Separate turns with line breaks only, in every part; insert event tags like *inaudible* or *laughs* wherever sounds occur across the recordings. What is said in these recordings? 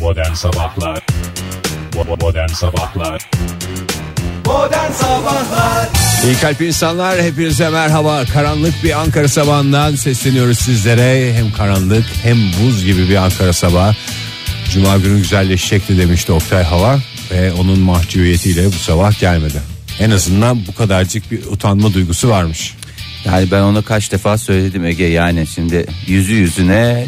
Modern Sabahlar Bo- Modern Sabahlar
Modern Sabahlar
İyi kalp insanlar hepinize merhaba. Karanlık bir Ankara sabahından sesleniyoruz sizlere. Hem karanlık hem buz gibi bir Ankara sabahı. Cuma günü güzelleşecekti demişti Oktay Hava ve onun mahcubiyetiyle bu sabah gelmedi. En azından bu kadarcık bir utanma duygusu varmış.
Yani ben ona kaç defa söyledim Ege yani şimdi yüzü yüzüne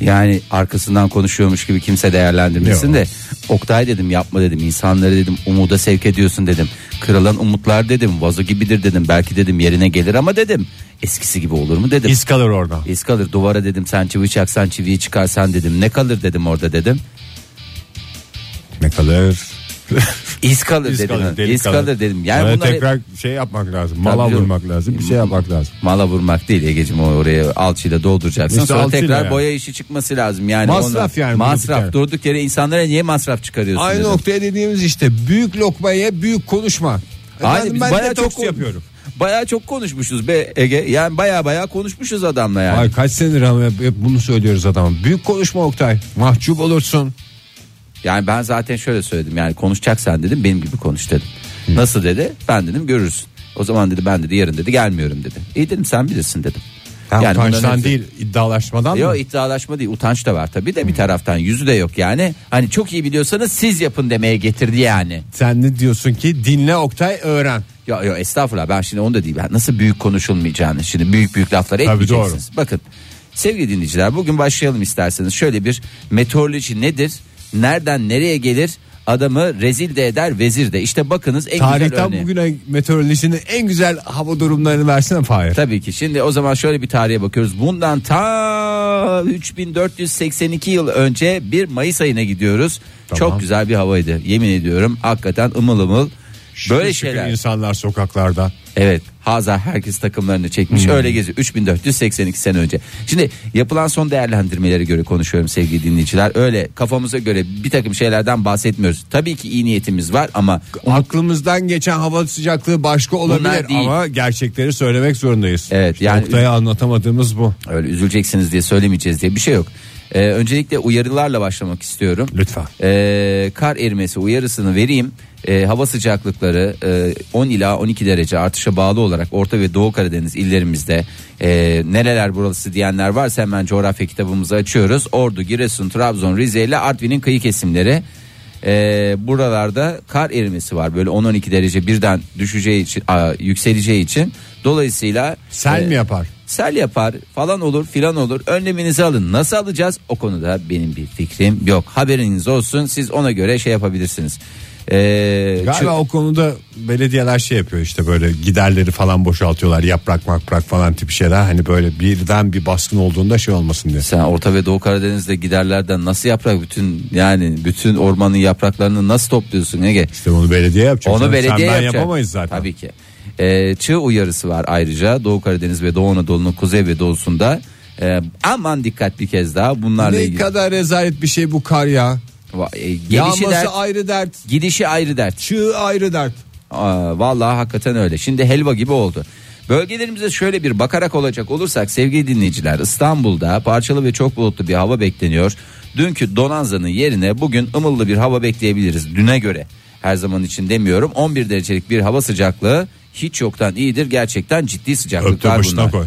yani arkasından konuşuyormuş gibi kimse değerlendirmesin
Yok.
de Oktay dedim yapma dedim insanları dedim umuda sevk ediyorsun dedim kırılan umutlar dedim vazo gibidir dedim belki dedim yerine gelir ama dedim eskisi gibi olur mu dedim
İz kalır orada.
iz kalır duvara dedim sen çivi çaksan çiviyi çıkarsan dedim ne kalır dedim orada dedim
Ne kalır?
iz kalır
İz
dedim
kalır, delik
iz
kalır.
kalır dedim yani
Ona
bunları
tekrar şey yapmak lazım. Mala
canım.
vurmak lazım. Bir şey yapmak lazım.
mala vurmak değil Ege'cim o oraya alçıyla dolduracaksın.
İşte
Sonra
alçıyla
tekrar
yani.
boya işi çıkması lazım. Yani
Masraf
onlar-
yani durduk
Masraf
yere.
durduk yere insanlara niye masraf çıkarıyorsun?
Aynı
dedim.
noktaya dediğimiz işte büyük lokmaya büyük konuşma.
Aynı
Efendim
biz
ben
bayağı
detoks
çok
yapıyorum.
Baya çok konuşmuşuz be Ege. Yani baya baya konuşmuşuz adamla yani.
Ay kaç senedir ama hep bunu söylüyoruz adama. Büyük konuşma Oktay. Mahcup olursun.
Yani ben zaten şöyle söyledim. Yani konuşacaksan dedim benim gibi konuş dedim. Nasıl dedi? Ben dedim görürsün. O zaman dedi ben dedi yarın dedi gelmiyorum dedi. İyi dedim sen bilirsin dedim.
Yani
bunların
utançtan
hepsi-
değil iddialaşmadan mı?
Yok iddialaşma değil utanç da var tabii
Hmm.
de bir taraftan yüzü de yok yani. Hani çok iyi biliyorsanız siz yapın demeye getirdi yani.
Sen ne diyorsun ki dinle Oktay öğren.
Ya ya estağfurullah ben şimdi onu da değil. Ben Nasıl büyük konuşulmayacağını şimdi büyük büyük laflar
Tabii
etmeyeceksiniz. Bakın sevgili dinleyiciler bugün başlayalım isterseniz. Şöyle bir meteoroloji nedir? Nereden nereye gelir? Adamı rezil de eder vezir de. İşte bakınız en güzel
Tarihten
örneği.
bugüne meteorolojinin en güzel hava durumlarını versene Fahir.
E, Tabii ki şimdi o zaman şöyle bir tarihe bakıyoruz. Bundan ta 3482 yıl önce 1 Mayıs ayına gidiyoruz.
Tamam.
Çok güzel bir havaydı yemin ediyorum. Hakikaten ımıl ımıl.
Şükür
Böyle
şükür
şeyler.
insanlar sokaklarda.
Evet Hazar herkes takımlarını
Hmm.
çekmiş öyle geziyor 3482 sene önce. Şimdi yapılan son değerlendirmelere göre konuşuyorum sevgili dinleyiciler. Öyle kafamıza göre bir takım şeylerden bahsetmiyoruz. Tabii ki iyi niyetimiz var ama
Aklımızdan geçen hava sıcaklığı başka olabilir
Bunlar değil.
ama gerçekleri söylemek zorundayız.
Evet,
İşte
yani-
Oktay'a anlatamadığımız bu.
öyle üzüleceksiniz diye söylemeyeceğiz diye bir şey yok. Ee, öncelikle uyarılarla başlamak istiyorum.
Lütfen.
Ee, kar erimesi uyarısını vereyim. Ee, hava sıcaklıkları e, 10 ila 12 derece artışa bağlı olarak Orta ve Doğu Karadeniz illerimizde e, nereler burası diyenler varsa hemen coğrafya kitabımızı açıyoruz. Ordu, Giresun, Trabzon, Rize ile Artvin'in kıyı kesimleri. Ee, buralarda kar erimesi var böyle 10-12 derece birden düşeceği için a, yükseleceği için dolayısıyla
Sel
e,
mi yapar?
sel yapar falan olur filan olur önleminizi alın nasıl alacağız o konuda benim bir fikrim yok haberiniz olsun siz ona göre şey yapabilirsiniz ee,
Galiba
çünkü-
o konuda belediyeler şey yapıyor işte böyle giderleri falan boşaltıyorlar yaprak makrak falan tip şeyler hani böyle birden bir baskın olduğunda şey olmasın diye.
sen Orta ve Doğu Karadeniz'de giderlerden nasıl yaprak bütün yani bütün ormanın yapraklarını nasıl topluyorsun Ege?
İşte onu belediye yapacak.
Onu
Sen-
belediye
sen ben
yapacak.
yapamayız zaten.
Tabii ki. Ee, çığ uyarısı var ayrıca Doğu Karadeniz ve Doğu Anadolu'nun kuzey ve doğusunda. Ee, aman dikkat bir kez daha bunlarla
Ne
ilgili.
kadar rezalet bir şey bu kar ya.
Va- e,
Yağması
Gelişi dert,
ayrı dert,
gidişi ayrı dert.
çığı ayrı dert.
Aa, vallahi hakikaten öyle. Şimdi helva gibi oldu. Bölgelerimize şöyle bir bakarak olacak olursak sevgili dinleyiciler İstanbul'da parçalı ve çok bulutlu bir hava bekleniyor. Dünkü Donanza'nın yerine bugün ımıllı bir hava bekleyebiliriz düne göre. Her zaman için demiyorum 11 derecelik bir hava sıcaklığı hiç yoktan iyidir. Gerçekten ciddi sıcaklıklar
Öptürmüşüne
bunlar.
koy.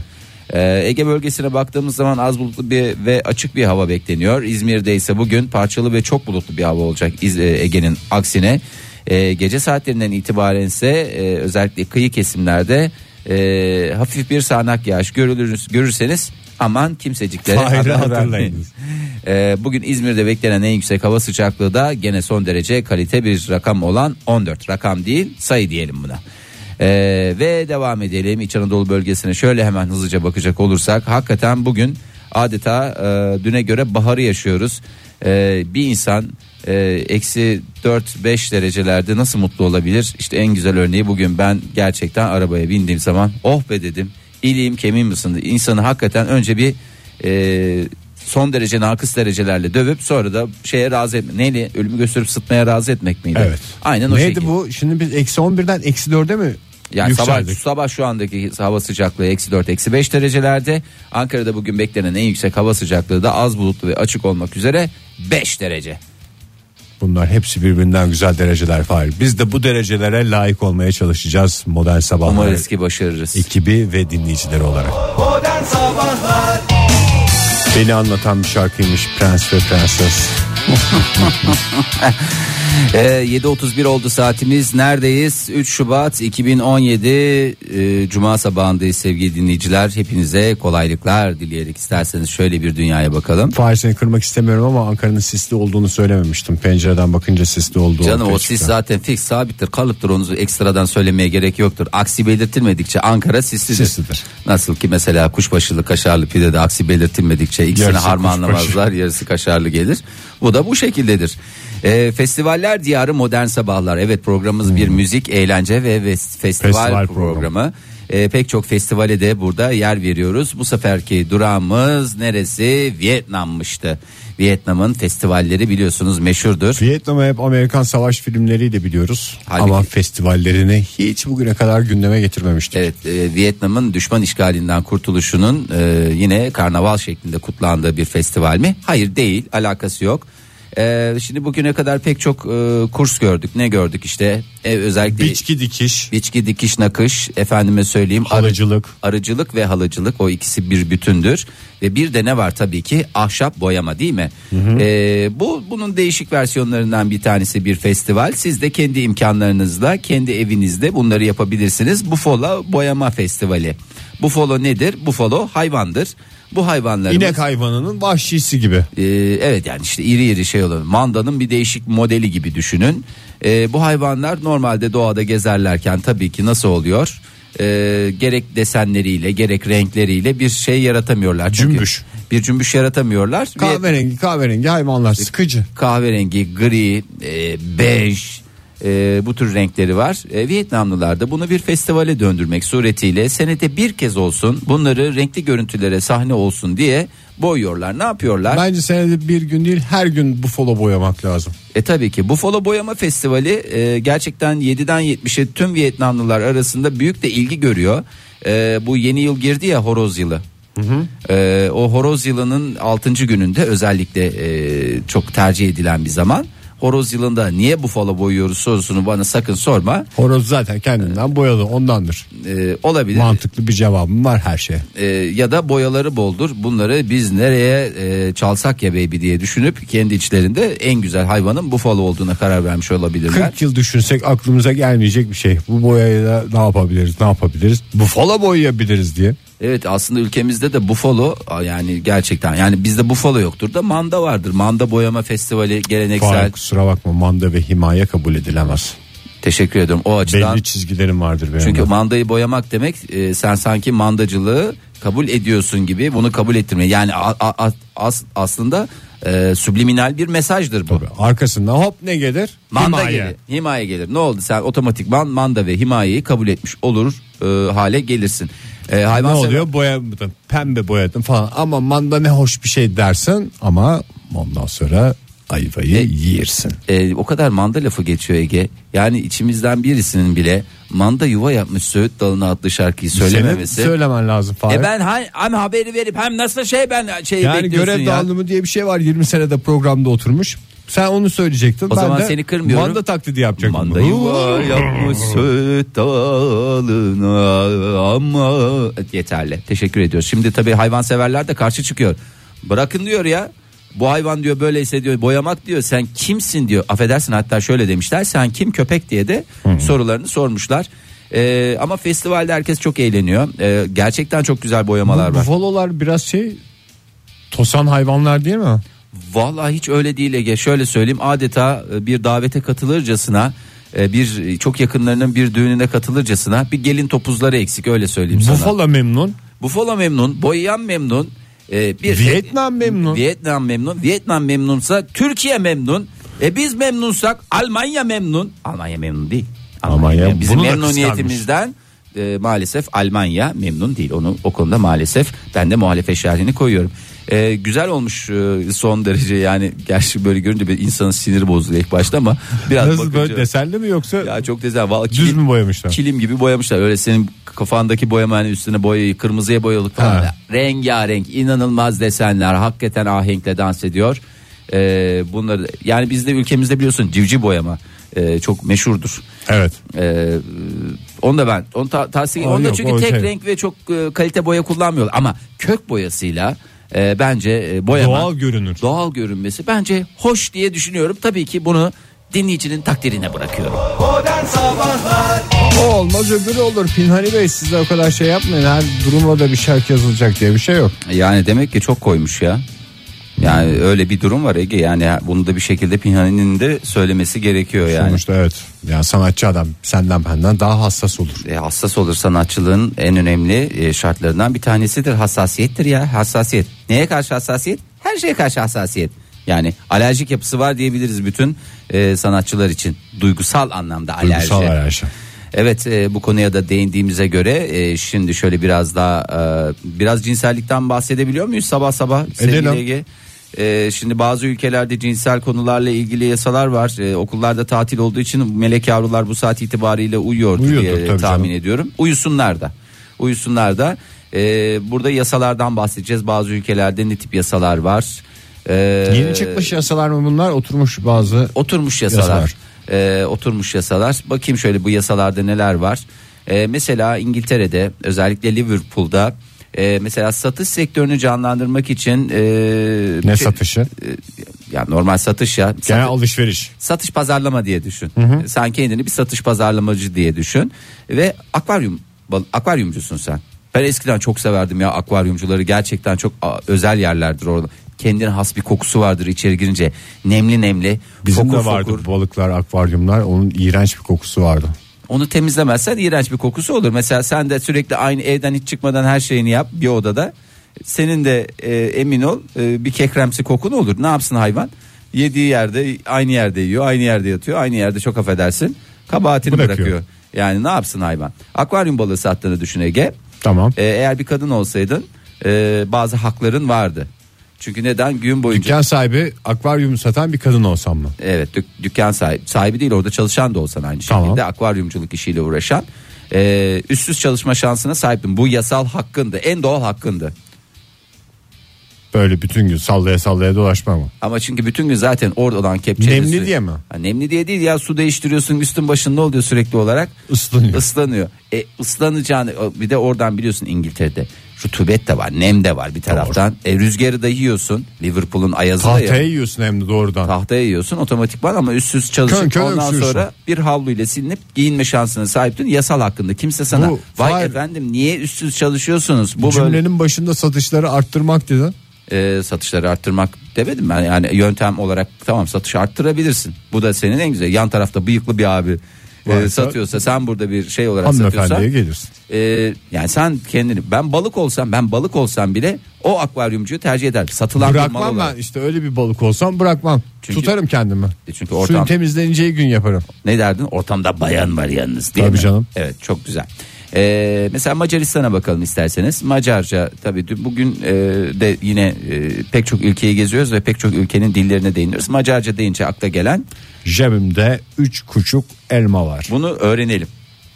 Ee, Ege bölgesine baktığımız zaman az bulutlu bir ve açık bir hava bekleniyor. İzmir'de ise bugün parçalı ve çok bulutlu bir hava olacak İz- e, Ege'nin aksine. Ee, gece saatlerinden itibaren ise e, özellikle kıyı kesimlerde e, hafif bir sağanak yağış görülür, görürseniz aman kimseciklere
Fahri
haber
hatırlayınız.
vermeyin. *laughs* Ee, bugün İzmir'de beklenen en yüksek hava sıcaklığı da gene son derece kalite bir rakam olan 14. Rakam değil sayı diyelim buna. Ee, ve devam edelim İç Anadolu bölgesine şöyle hemen hızlıca bakacak olursak hakikaten bugün adeta e, düne göre baharı yaşıyoruz. Ee, bir insan e, eksi 4-5 derecelerde nasıl mutlu olabilir? İşte en güzel örneği bugün ben gerçekten arabaya bindiğim zaman oh be dedim iliğim kemiğim ısındı. İnsanı hakikaten önce bir e, son derece nakıs derecelerle dövüp sonra da şeye razı etme. Neyle? Ölümü gösterip sıtmaya razı etmek miydi?
Evet.
Aynen o
Neydi
şekilde.
bu? Şimdi biz eksi 11'den eksi 4'e mi
Yani sabah,
yükseldik?
sabah şu andaki hava sıcaklığı eksi 4 eksi 5 derecelerde. Ankara'da bugün beklenen en yüksek hava sıcaklığı da az bulutlu ve açık olmak üzere 5 derece.
Bunlar hepsi birbirinden güzel dereceler Fahir. Biz de bu derecelere layık olmaya çalışacağız modern sabahlar
Umarız ki başarırız.
ekibi ve dinleyicileri olarak.
Modern Sabahlar
Beni anlatan bir şarkıymış Prens ve Prenses.
Ee, 7.31 oldu saatimiz. Neredeyiz? 3 Şubat 2017 e, Cuma sabahındayız sevgili dinleyiciler. Hepinize kolaylıklar dileyerek isterseniz şöyle bir dünyaya bakalım.
Fahir seni kırmak istemiyorum ama Ankara'nın sisli olduğunu söylememiştim. Pencereden bakınca sisli olduğu
Canım
ortaya
o sis
çıktı.
zaten fix sabittir kalıptır onu ekstradan söylemeye gerek yoktur. Aksi belirtilmedikçe Ankara sislidir.
Sislidir.
Nasıl ki mesela kuşbaşılı kaşarlı pide de aksi belirtilmedikçe ikisini
Yarısı
harmanlamazlar yarısı kaşarlı gelir. Bu da bu şekildedir. Ee, festivaller diyarı modern sabahlar. Evet programımız bir müzik eğlence ve, ve festival,
Hmm. Festival
programı.
programı.
Ee, pek çok festivale de burada yer veriyoruz. Bu seferki durağımız neresi? Vietnam'mıştı. Vietnam'ın festivalleri biliyorsunuz meşhurdur.
Vietnam'ı hep Amerikan savaş filmleriyle biliyoruz.
Halbuki-
Ama festivallerini hiç bugüne kadar gündeme getirmemiştik.
Evet e, Vietnam'ın düşman işgalinden kurtuluşunun e, yine karnaval şeklinde kutlandığı bir festival mi? Hayır değil alakası yok. E, şimdi bugüne kadar pek çok e, kurs gördük ne gördük işte e, özellikle
Biçki dikiş,
biçki dikiş nakış efendime söyleyeyim arı-
halıcılık.
arıcılık ve halıcılık o ikisi bir bütündür ve bir de ne var tabii ki ahşap boyama değil mi? Ee, bu bunun değişik versiyonlarından bir tanesi bir festival. Siz de kendi imkanlarınızla kendi evinizde bunları yapabilirsiniz. Buffalo boyama festivali. Buffalo nedir? Buffalo hayvandır. Bu hayvanların
İnek hayvanının vahşisi gibi.
ee, evet yani işte iri iri şey olan mandanın bir değişik modeli gibi düşünün. Ee, bu hayvanlar normalde doğada gezerlerken tabii ki nasıl oluyor? Ee, gerek desenleriyle gerek renkleriyle bir şey yaratamıyorlar. Çünkü
Cümbüş.
Bir cümbüş yaratamıyorlar. Ve
Kahverengi kahverengi hayvanlar sıkıcı.
kahverengi, gri, e, bej e, bu tür renkleri var. E, Vietnamlılar da bunu bir festivale döndürmek suretiyle senede bir kez olsun bunları renkli görüntülere sahne olsun diye boyuyorlar. Ne yapıyorlar?
Bence senede bir gün değil her gün bufalo boyamak lazım.
E tabii ki Buffalo Boyama Festivali e, gerçekten 7'den 70'e tüm Vietnamlılar arasında büyük de ilgi görüyor. E, bu yeni yıl girdi ya horoz yılı. E, o horoz yılının 6. gününde özellikle e, çok tercih edilen bir zaman. Horoz yılında niye Buffalo boyuyoruz sorusunu bana sakın sorma.
Horoz zaten kendinden boyalı ondandır.
E, olabilir.
Mantıklı bir cevabım var her şeye.
E, ya da boyaları boldur. Bunları biz nereye e, çalsak ya baby diye düşünüp kendi içlerinde en güzel hayvanın Buffalo olduğuna karar vermiş olabilirler.
40 yıl düşünsek aklımıza gelmeyecek bir şey. Bu boyayla ne yapabiliriz ne yapabiliriz? Bufalo boyayabiliriz diye.
Evet aslında ülkemizde de bufalo a, yani gerçekten yani bizde bufalo yoktur da manda vardır. Manda boyama festivali geleneksel.
Fahir kusura bakma manda ve himaye kabul edilemez.
Teşekkür ediyorum o açıdan.
Belli çizgilerim vardır benim.
çünkü
de.
mandayı boyamak demek e, sen sanki mandacılığı kabul ediyorsun gibi bunu kabul ettirme. Yani a- a- a- as- aslında e, subliminal bir mesajdır bu.
arkasından hop ne gelir?
Manda
Himaye.
gelir. Himaye gelir. Ne oldu sen otomatikman manda ve himayeyi kabul etmiş olur e, hale gelirsin. E,
Ne
hayvan
oluyor? Boyadım. Pembe boyadım falan. Ama manda ne hoş bir şey dersin ama ondan sonra ayvayı yersin.
E, o kadar manda lafı geçiyor Ege. Yani içimizden birisinin bile manda yuva yapmış Söğüt Dalı'na adlı şarkıyı söylememesi.
Senin söylemen lazım Fahir.
E ben hani- hem haberi verip hem nasıl şey ben şey
yani
bekliyorsun
görev
ya.
dağılımı diye bir şey var 20 senede programda oturmuş. Sen onu söyleyecektin.
O
ben
zaman
de
seni kırmıyorum.
Manda taklidi yapacaktım.
Manda yuva yapmış Söğüt Dalı'na ama yeterli. Teşekkür ediyoruz. Şimdi tabii hayvanseverler de karşı çıkıyor. Bırakın diyor ya. Bu hayvan diyor böyleyse diyor boyamak diyor sen kimsin diyor affedersin hatta şöyle demişler sen kim köpek diye de sorularını sormuşlar Ee, ama festivalde herkes çok eğleniyor Ee, gerçekten çok güzel boyamalar var
Bufalolar biraz şey tosan hayvanlar değil mi?
Vallahi hiç öyle değil Ege. Şöyle söyleyeyim adeta e, bir davete katılırcasına e, bir e, çok yakınlarının bir düğününe katılırcasına bir gelin topuzları eksik öyle söyleyeyim sana. Buffalo,
Bufalo memnun.
memnun, boyayan memnun. e, bir
Vietnam memnun.
Vietnam memnun. Vietnam memnunsa Türkiye memnun. E biz memnunsak Almanya memnun. Almanya memnun değil.
Almanya
bizim
bunu da
memnuniyetimizden e, maalesef Almanya memnun değil. Onu o konuda maalesef ben de muhalefet şerhini koyuyorum. E, güzel olmuş e, son derece yani gerçi böyle görünce bir insanın siniri bozuluyor ilk başta ama biraz
Nasıl
bakınca-
böyle desenli mi yoksa
ya çok güzel. Vallahi
düz mü boyamışlar?
Kilim gibi boyamışlar. Öyle senin kafandaki boyama hani üstüne boyayı kırmızıya boyalık falan.
Ha.
Rengarenk inanılmaz desenler. Hakikaten ahenkle dans ediyor. Ee, bunları yani bizde ülkemizde biliyorsun civciv boyama e, çok meşhurdur.
Evet.
Ee, onu da ben onu ta, tavsiye
Aa,
onu da
yok,
çünkü
o
tek
şey.
renk ve çok e, kalite boya kullanmıyorlar ama kök boyasıyla e, bence e, boyama
Doğal görünür.
doğal görünmesi bence hoş diye düşünüyorum. Tabii ki bunu dinleyicinin takdirine bırakıyorum.
Modern Sabahlar
O olmaz öbürü olur. Pinhani Bey siz de o kadar şey yapmayın. Her duruma da bir şarkı yazılacak diye bir şey yok.
Yani demek ki çok koymuş ya. Yani öyle bir durum var Ege yani bunu da bir şekilde Pinhani'nin de söylemesi gerekiyor yani.
Sonuçta evet. Yani sanatçı adam senden benden daha hassas olur.
E, hassas olur sanatçılığın en önemli e, şartlarından bir tanesidir hassasiyettir ya hassasiyet. Neye karşı hassasiyet? Her şeye karşı hassasiyet. Yani alerjik yapısı var diyebiliriz bütün e, sanatçılar için duygusal anlamda alerji.
Duygusal alerji.
Evet e, bu konuya da değindiğimize göre e, şimdi şöyle biraz daha e, biraz cinsellikten bahsedebiliyor muyuz sabah sabah sevgili
Edelim.
Ege? E, şimdi bazı ülkelerde cinsel konularla ilgili yasalar var. E, okullarda tatil olduğu için melek yavrular bu saat itibariyle uyuyordu
Uyuyordur
diye tahmin
tabii canım.
ediyorum. Uyusunlar da. Uyusunlar da. E, burada yasalardan bahsedeceğiz. Bazı ülkelerde ne tip yasalar var? E,
Yeni çıkmış yasalar mı bunlar? Oturmuş bazı
Oturmuş yasalar.
Yasalar.
Ee, oturmuş yasalar. Bakayım şöyle bu yasalarda neler var. Ee, mesela İngiltere'de özellikle Liverpool'da e, mesela satış sektörünü canlandırmak için e,
ne
şey-
satışı?
e, ya normal satış ya.
Genel
Satı-
alışveriş.
satış pazarlama diye düşün. Sen kendini bir satış pazarlamacı diye düşün ve akvaryum bal- akvaryumcusun sen. Ben eskiden çok severdim ya akvaryumcuları gerçekten çok a- özel yerlerdir orada. Kendine has bir kokusu vardır içeri girince. Nemli nemli.
Bizim
fokur
de vardı
fokur.
balıklar, akvaryumlar. Onun iğrenç bir kokusu vardı.
Onu temizlemezsen iğrenç bir kokusu olur. Mesela sen de sürekli aynı evden hiç çıkmadan her şeyini yap bir odada. Senin de e, emin ol e, bir kekremsi kokun olur. Ne yapsın hayvan? Yediği yerde aynı yerde yiyor, aynı yerde yatıyor, aynı yerde çok affedersin. Kabahatini
Bırakıyor.
bırakıyor. Yani ne yapsın hayvan? Akvaryum balığı sattığını düşün Ege.
Tamam.
E, eğer bir kadın olsaydın e, bazı hakların vardı. Çünkü neden gün boyunca
Dükkan sahibi akvaryum satan bir kadın olsam mı?
Evet dük- dükkan sahibi, sahibi değil orada çalışan da olsan aynı şekilde
Tamam.
akvaryumculuk işiyle uğraşan e, üstsüz çalışma şansına sahiptin. Bu yasal hakkındı en doğal hakkındı.
Böyle bütün gün sallaya sallaya dolaşma mı?
Ama çünkü bütün gün zaten orada olan kepçeyle
Nemli
su-
diye mi?
Ha, nemli diye değil ya su değiştiriyorsun üstün başın ne oluyor sürekli olarak?
Islanıyor.
Islanıyor. E, ıslanacağını bir de oradan biliyorsun İngiltere'de rutubet de var nem de var bir taraftan. E, rüzgarı da yiyorsun Liverpool'un ayazı da ya.
Tahtaya yiyorsun hem de doğrudan.
tahtaya yiyorsun otomatikman ama üstsüz
Kön
çalışıp
kön
ondan
öksürüyorsun.
sonra bir havlu ile silinip giyinme şansına sahiptin yasal hakkında kimse sana
Bu,
vay
Fahir-
efendim niye üstsüz çalışıyorsunuz bu böyle
Cümlenin başında satışları arttırmak dedin.
Ee, satışları arttırmak demedim ben yani yöntem olarak tamam satışı arttırabilirsin bu da senin en güzel yan tarafta bıyıklı bir abi e,
Varsa-
satıyorsa sen burada bir şey olarak satıyorsan
Hanımefendiye gelirsin.
e, yani sen kendini ben balık olsam ben balık olsam bile o akvaryumcuyu tercih eder satılan bir mal
Bırakmam
olarak.
ben işte öyle bir balık olsam bırakmam.
Çünkü-
Tutarım kendimi.
E çünkü
Suyun
ortam-
temizleneceği gün yaparım.
ne derdin ortamda bayan var yalnız değil
Tabii
mi?
canım.
Evet çok güzel. Ee, mesela Macaristan'a bakalım isterseniz. Macarca tabii dün- bugün e, de yine e, pek çok ülkeyi geziyoruz ve pek çok ülkenin dillerine değiniyoruz. Macarca deyince akla gelen
Cebimde 3 küçük elma var.
bunu öğrenelim.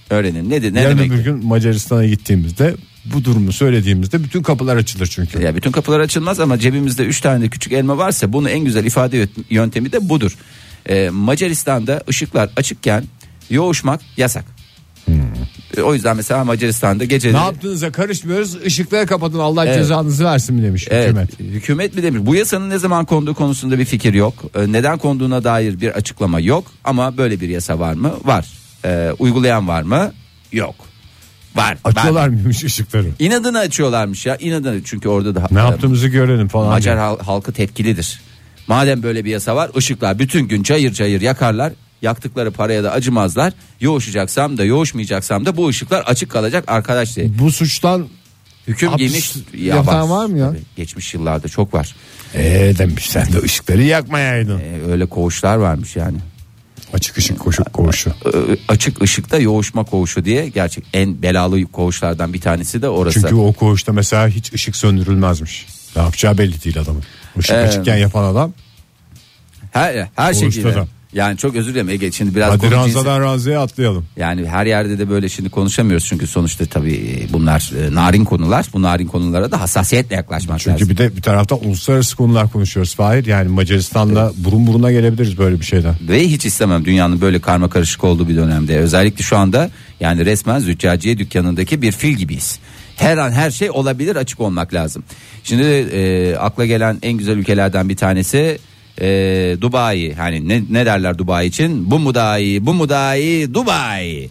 Öğrenelim. Ne, de- ne
Yarın
demek?
öbür gün Macaristan'a gittiğimizde bu durumu söylediğimizde bütün kapılar açılır çünkü.
Ya bütün kapılar açılmaz ama cebimizde 3 tane de küçük elma varsa bunu en güzel ifade yöt- yöntemi de budur. Ee, Macaristan'da ışıklar açıkken yoğuşmak yasak. Ee, O yüzden mesela Macaristan'da gece
Hmm. Ne yaptığınıza karışmıyoruz. Işıkları kapatın Allah
Evet.
cezanızı versin mi demiş
Evet,
hükümet.
hükümet mi demiş? Bu yasanın ne zaman konduğu konusunda bir fikir yok. Ee, Neden konduğuna dair bir açıklama yok. Ama böyle bir yasa var mı? Var. Ee, uygulayan var mı? Yok. Var. var.
Açıyorlar mıymış ışıkları?
İnadını açıyorlarmış ya. İnadını çünkü orada da e,
Ne yaptığımızı görelim falan.
Macar
diyor.
hal- halkı tepkilidir. Madem böyle bir yasa var, ışıklar bütün gün cayır cayır yakarlar. Yaktıkları paraya da acımazlar. Yoğuşacaksam da yoğuşmayacaksam da bu ışıklar açık kalacak arkadaş diye.
Bu suçtan
Hüküm
Hapis
giymiş. Ya
yatağı var mı ya?
Tabii, Geçmiş yıllarda çok var.
ee demiş sen de ışıkları yakmayaydın.
E, öyle koğuşlar varmış yani.
Açık ışık koşup koğuşu.
Ö- ö- açık ışıkta yoğuşma koğuşu diye gerçek en belalı koğuşlardan bir tanesi de orası.
Çünkü o koğuşta mesela hiç ışık söndürülmezmiş. Ne yapacağı belli değil adamın. Işık açıkken yapan adam
her her
koğuşta
şekilde.
da.
Yani çok özür dilerim Ege şimdi biraz
Hadi
konu cinsi-
ranzadan ranzaya atlayalım.
Yani her yerde de böyle şimdi konuşamıyoruz çünkü sonuçta tabii bunlar e, narin konular. Bu narin konulara da hassasiyetle yaklaşmak
Çünkü
lazım.
bir de bir tarafta uluslararası konular konuşuyoruz Fahir. Yani Macaristan'la burun buruna gelebiliriz böyle bir şeyden. *laughs*
Ve hiç istemem dünyanın böyle karma karışık olduğu bir dönemde. Özellikle şu anda yani resmen züccaciye dükkanındaki bir fil gibiyiz. Her an her şey olabilir açık olmak lazım. Şimdi e, akla gelen en güzel ülkelerden bir tanesi e, Dubai. Hani ne, ne derler Dubai için? Bu mu daha iyi? Bu mu daha iyi? Dubai.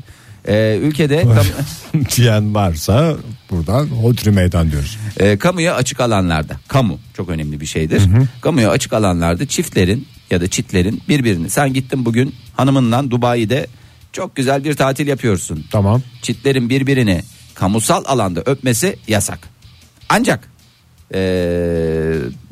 E, ülkede tam-
diyen varsa buradan Hodri Meydan diyoruz.
E, kamuya açık alanlarda kamu çok önemli bir şeydir. Kamuya açık alanlarda çiftlerin ya da çitlerin birbirini sen gittin bugün hanımınla Dubai'de çok güzel bir tatil yapıyorsun.
Tamam.
Çitlerin birbirini kamusal alanda öpmesi yasak. Ancak e,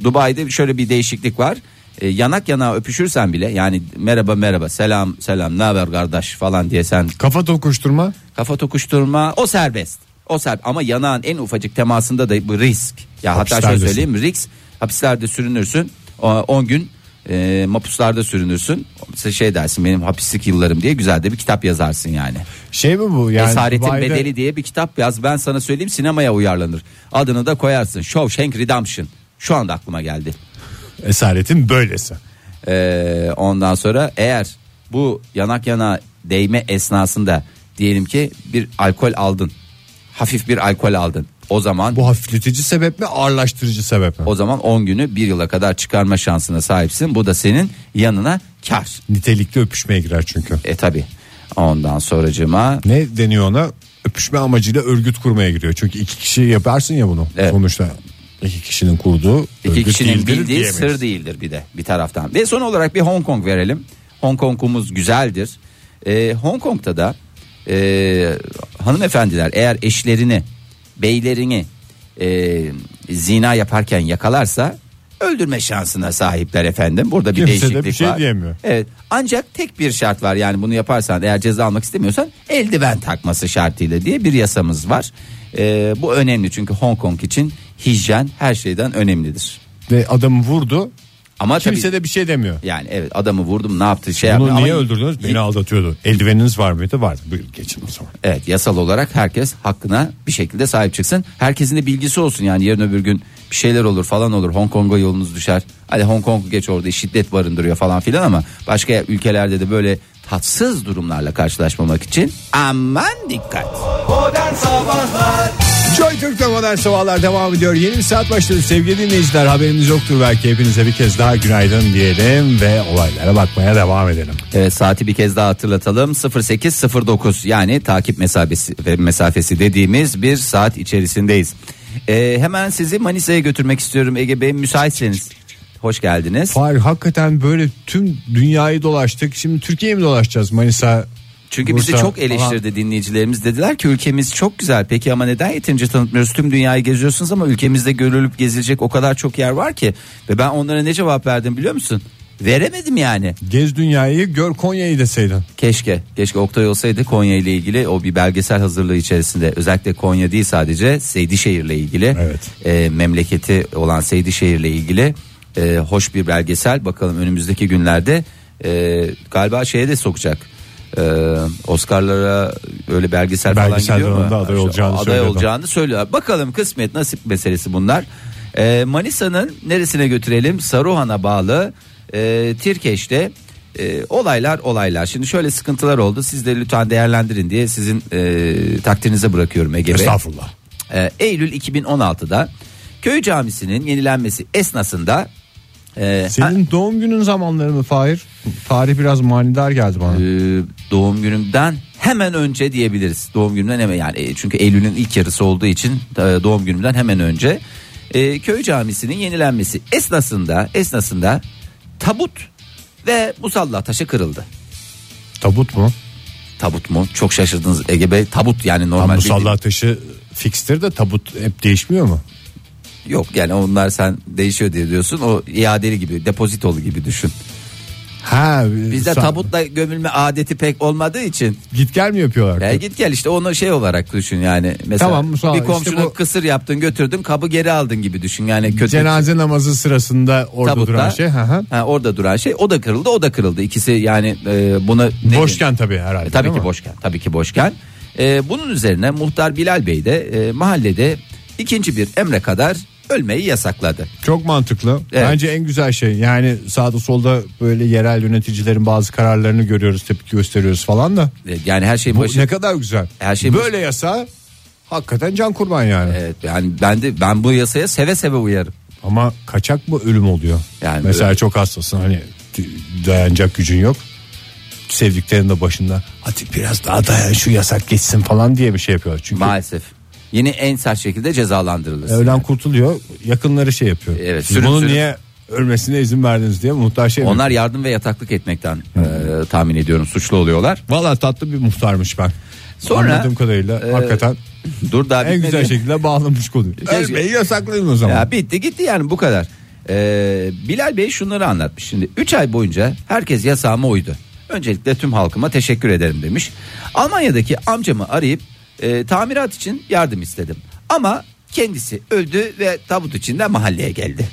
Dubai'de şöyle bir değişiklik var. E, yanak yana öpüşürsen bile yani merhaba merhaba selam selam ne haber kardeş falan diye sen
Kafa tokuşturma.
Kafa tokuşturma o serbest. O serbest ama yanağın en ufacık temasında da bu risk. Ya hatta şöyle
Hapislerdesin.
söyleyeyim risk hapislerde sürünürsün 10 gün e, mapuslarda sürünürsün. Sen Şey dersin benim hapislik yıllarım diye güzel de bir kitap yazarsın yani.
Şey mi bu? Yani
Esaretin
Dubai'de-
Bedeli diye bir kitap yaz ben sana söyleyeyim sinemaya uyarlanır. Adını da koyarsın Shawshank Redemption. Şu anda aklıma geldi.
Esaretin böylesi.
Ee, ondan sonra eğer bu yanak yana değme esnasında diyelim ki bir alkol aldın. Hafif bir alkol aldın. O zaman
Bu hafifletici sebep mi ağırlaştırıcı sebep mi?
o zaman 10 günü 1 yıla kadar çıkarma şansına sahipsin. Bu da senin yanına kar.
Nitelikli öpüşmeye girer çünkü.
E tabi. Ondan sonracıma
Ne deniyor ona? Öpüşme amacıyla örgüt kurmaya giriyor. Çünkü iki kişi yaparsın ya bunu.
Evet.
Sonuçta iki kişinin kurduğu
İki
örgüt
kişinin
değildir
bildiği
diyemeyiz.
sır değildir bir de bir taraftan. Ve son olarak bir Hong Kong verelim. Hong Kong'umuz güzeldir. Ee, Hong Kong'da da e, hanımefendiler eğer eşlerini, beylerini e, zina yaparken yakalarsa öldürme şansına sahipler efendim. Burada bir
Kimse de bir
değişiklik
şey
var.
diyemiyor.
Evet. Ancak tek bir şart var. Yani bunu yaparsan eğer ceza almak istemiyorsan eldiven takması şartıyla diye bir yasamız var. Ee, bu önemli çünkü Hong Kong için hijyen her şeyden önemlidir.
Ve adamı vurdu.
Ama
Kimse
tabii
de bir şey demiyor.
yani evet adamı vurdum ne yaptı şey
Bunu
yaptı.
niye
Ama-
öldürdünüz? Beni aldatıyordu. Eldiveniniz var mıydı? Vardı. Buyurun geçin o zaman.
Evet yasal olarak herkes hakkına bir şekilde sahip çıksın. Herkesin de bilgisi olsun yani yarın öbür gün bir şeyler olur falan olur. Hong Kong'a yolunuz düşer. Hadi Hong Kong geç orada şiddet barındırıyor falan filan ama başka ülkelerde de böyle tatsız durumlarla karşılaşmamak için aman dikkat.
Modern Sabahlar
Joy Türk'te modern sabahlar devam ediyor. Yeni bir saat başladı sevgili dinleyiciler. Haberiniz yoktur belki hepinize bir kez daha günaydın diyelim ve olaylara bakmaya devam edelim.
Evet Ee, saati bir kez daha hatırlatalım 08.09 yani takip mesafesi, mesafesi dediğimiz bir saat içerisindeyiz. Ee, hemen sizi Manisa'ya götürmek istiyorum Ege Bey müsaitseniz. Hoş geldiniz.
Fahir hakikaten böyle tüm dünyayı dolaştık. Şimdi Türkiye'yi mi dolaşacağız Manisa?
Çünkü
Bursa
bizi çok
falan.
eleştirdi dinleyicilerimiz. Dediler ki ülkemiz çok güzel. Peki ama neden yeterince tanıtmıyoruz? Tüm dünyayı geziyorsunuz ama ülkemizde görülüp gezilecek o kadar çok yer var ki. Ve ben onlara ne cevap verdim biliyor musun? Veremedim yani.
Gez dünyayı gör Konya'yı deseydin.
Keşke, keşke Oktay olsaydı Konya ile ilgili o bir belgesel hazırlığı içerisinde. Özellikle Konya değil sadece Seydişehir ile ilgili.
Evet.
e, memleketi olan Seydişehir ile ilgili e, hoş bir belgesel. Bakalım önümüzdeki günlerde e, galiba şeye de sokacak. E, Oscar'lara öyle belgesel falan
Belgesel
gidiyor mu?
dalında aday olacağını
aday
söylüyordu.
olacağını söylüyor. Bakalım kısmet nasip meselesi bunlar. E, Manisa'nın neresine götürelim? Saruhan'a bağlı e, Tirkeş'te e, olaylar olaylar. Şimdi şöyle sıkıntılar oldu. Siz de lütfen değerlendirin diye sizin e, takdirinize bırakıyorum Ege Bey.
Estağfurullah.
Ee, Eylül 2016'da köy camisinin yenilenmesi esnasında e, ha,
Senin doğum günün zamanları mı Fahir? Tarih biraz manidar geldi bana.
e, doğum günümden hemen önce diyebiliriz. Doğum günümden hemen yani e, çünkü Eylül'ün ilk yarısı olduğu için e, doğum günümden hemen önce e, köy camisinin yenilenmesi esnasında esnasında tabut ve musalla taşı kırıldı.
Tabut mu?
Tabut mu? Çok şaşırdınız Ege Bey. Tabut yani normal.
Normal
bildiğin-
musalla taşı fikstir de tabut hep değişmiyor mu?
Yok yani onlar sen değişiyor diye diyorsun. O iadeli gibi, depozitolu gibi düşün.
Ha,
Bizde
sa-
tabutla gömülme adeti pek olmadığı için
git gel mi yapıyorlar?
ya git gel işte onu şey olarak düşün yani. Mesela
Tamam, sağ ol.
bir
İşte
komşunu
bu-
kısır yaptın götürdün kabı geri aldın gibi düşün yani kötü
Cenaze namazı sırasında orada
tabutta.
duran şey. Hı hı.
Ha, orada duran şey o da kırıldı o da kırıldı ikisi yani e, buna ne diyeyim?
Boşken tabii herhalde.
E, tabii
değil
ki
mi?
boşken. Tabii ki boşken. E, bunun üzerine muhtar Bilal Bey de e, mahallede ikinci bir emre kadar ölmeyi yasakladı.
Çok mantıklı.
Evet.
Bence en güzel şey yani sağda solda böyle yerel yöneticilerin bazı kararlarını görüyoruz tepki gösteriyoruz falan da.
E, Yani her şey
Bu
başı.
ne kadar güzel.
Her şey başı-
böyle yasa hakikaten can kurban yani.
Evet, yani ben de ben bu yasaya seve seve uyarım.
Ama kaçak mı ölüm oluyor?
Yani
Mesela
böyle-
çok hastasın hani dayanacak gücün yok. Sevdiklerin de başında hadi biraz daha dayan şu yasak geçsin falan diye bir şey yapıyor. Çünkü
Maalesef. Yine en sert şekilde cezalandırılır.
ölen kurtuluyor yakınları şey yapıyor.
Evet,
Siz
sürüm
bunu
sürüm.
niye ölmesine izin verdiniz diye muhtar şey mi?
Onlar yardım ve yataklık etmekten e, tahmin ediyorum suçlu oluyorlar.
Valla tatlı bir muhtarmış ben.
Sonra-
Anladığım kadarıyla
Ee,
hakikaten
Dur daha
en
bitmedi.
güzel şey. şekilde bağlamış konuyu.
Keşke-
Ölmeyi yasaklayın o zaman.
Ya bitti gitti yani bu kadar. Ee, Bilal Bey şunları anlatmış. Şimdi 3 ay boyunca herkes yasağıma uydu. Öncelikle tüm halkıma teşekkür ederim demiş. Almanya'daki amcamı arayıp e, tamirat için yardım istedim. Ama kendisi öldü ve tabut içinde mahalleye geldi.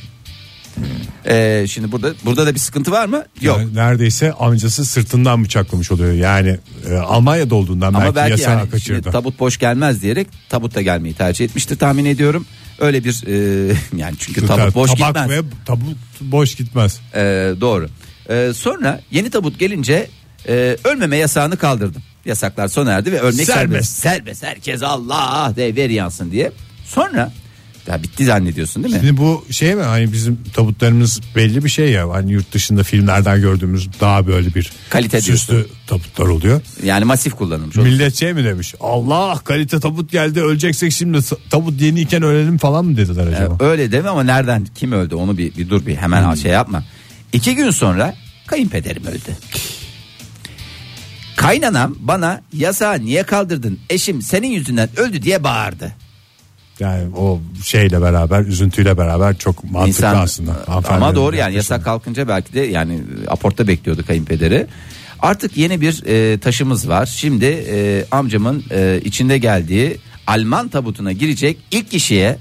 Ee, şimdi burada burada da bir sıkıntı var mı? Yok.
Yani neredeyse amcası sırtından bıçaklamış oluyor. Yani e, Almanya'da olduğundan
Ama
belki,
belki
yasağı
yani şimdi
kaçırdı.
tabut boş gelmez diyerek tabutta gelmeyi tercih etmiştir tahmin ediyorum. Öyle bir e, *laughs* yani çünkü tabut boş
Tabak
gitmez.
ve tabut boş gitmez.
Ee, doğru. Ee, sonra yeni tabut gelince e, ölmeme yasağını kaldırdım. Yasaklar sona erdi ve ölmek serbest. Serbest,
Serbest.
herkes Allah de ver yansın diye. Sonra ya bitti zannediyorsun değil mi?
Şimdi bu şey mi hani bizim tabutlarımız belli bir şey ya hani yurt dışında filmlerden gördüğümüz daha böyle bir
Kalite
süslü tabutlar oluyor.
Yani masif kullanılmış. oldu.
Millet şey mi demiş Allah kalite tabut geldi öleceksek şimdi tabut yeniyken ölelim falan mı dediler acaba?
Ee, Öyle deme ama nereden kim öldü onu bir, bir dur bir hemen
Hmm.
al şey yapma. İki gün sonra kayınpederim öldü. Kaynanam bana yasağı niye kaldırdın eşim senin yüzünden öldü diye bağırdı.
Yani o şeyle beraber üzüntüyle beraber çok mantıklı
İnsan-
aslında.
Ama
Hanımefendinin
doğru yani
yaklaşımı.
yasak kalkınca belki de yani e, aportta bekliyordu kayınpederi. Artık yeni bir e, taşımız var. Şimdi e, amcamın e, içinde geldiği Alman tabutuna girecek ilk kişiye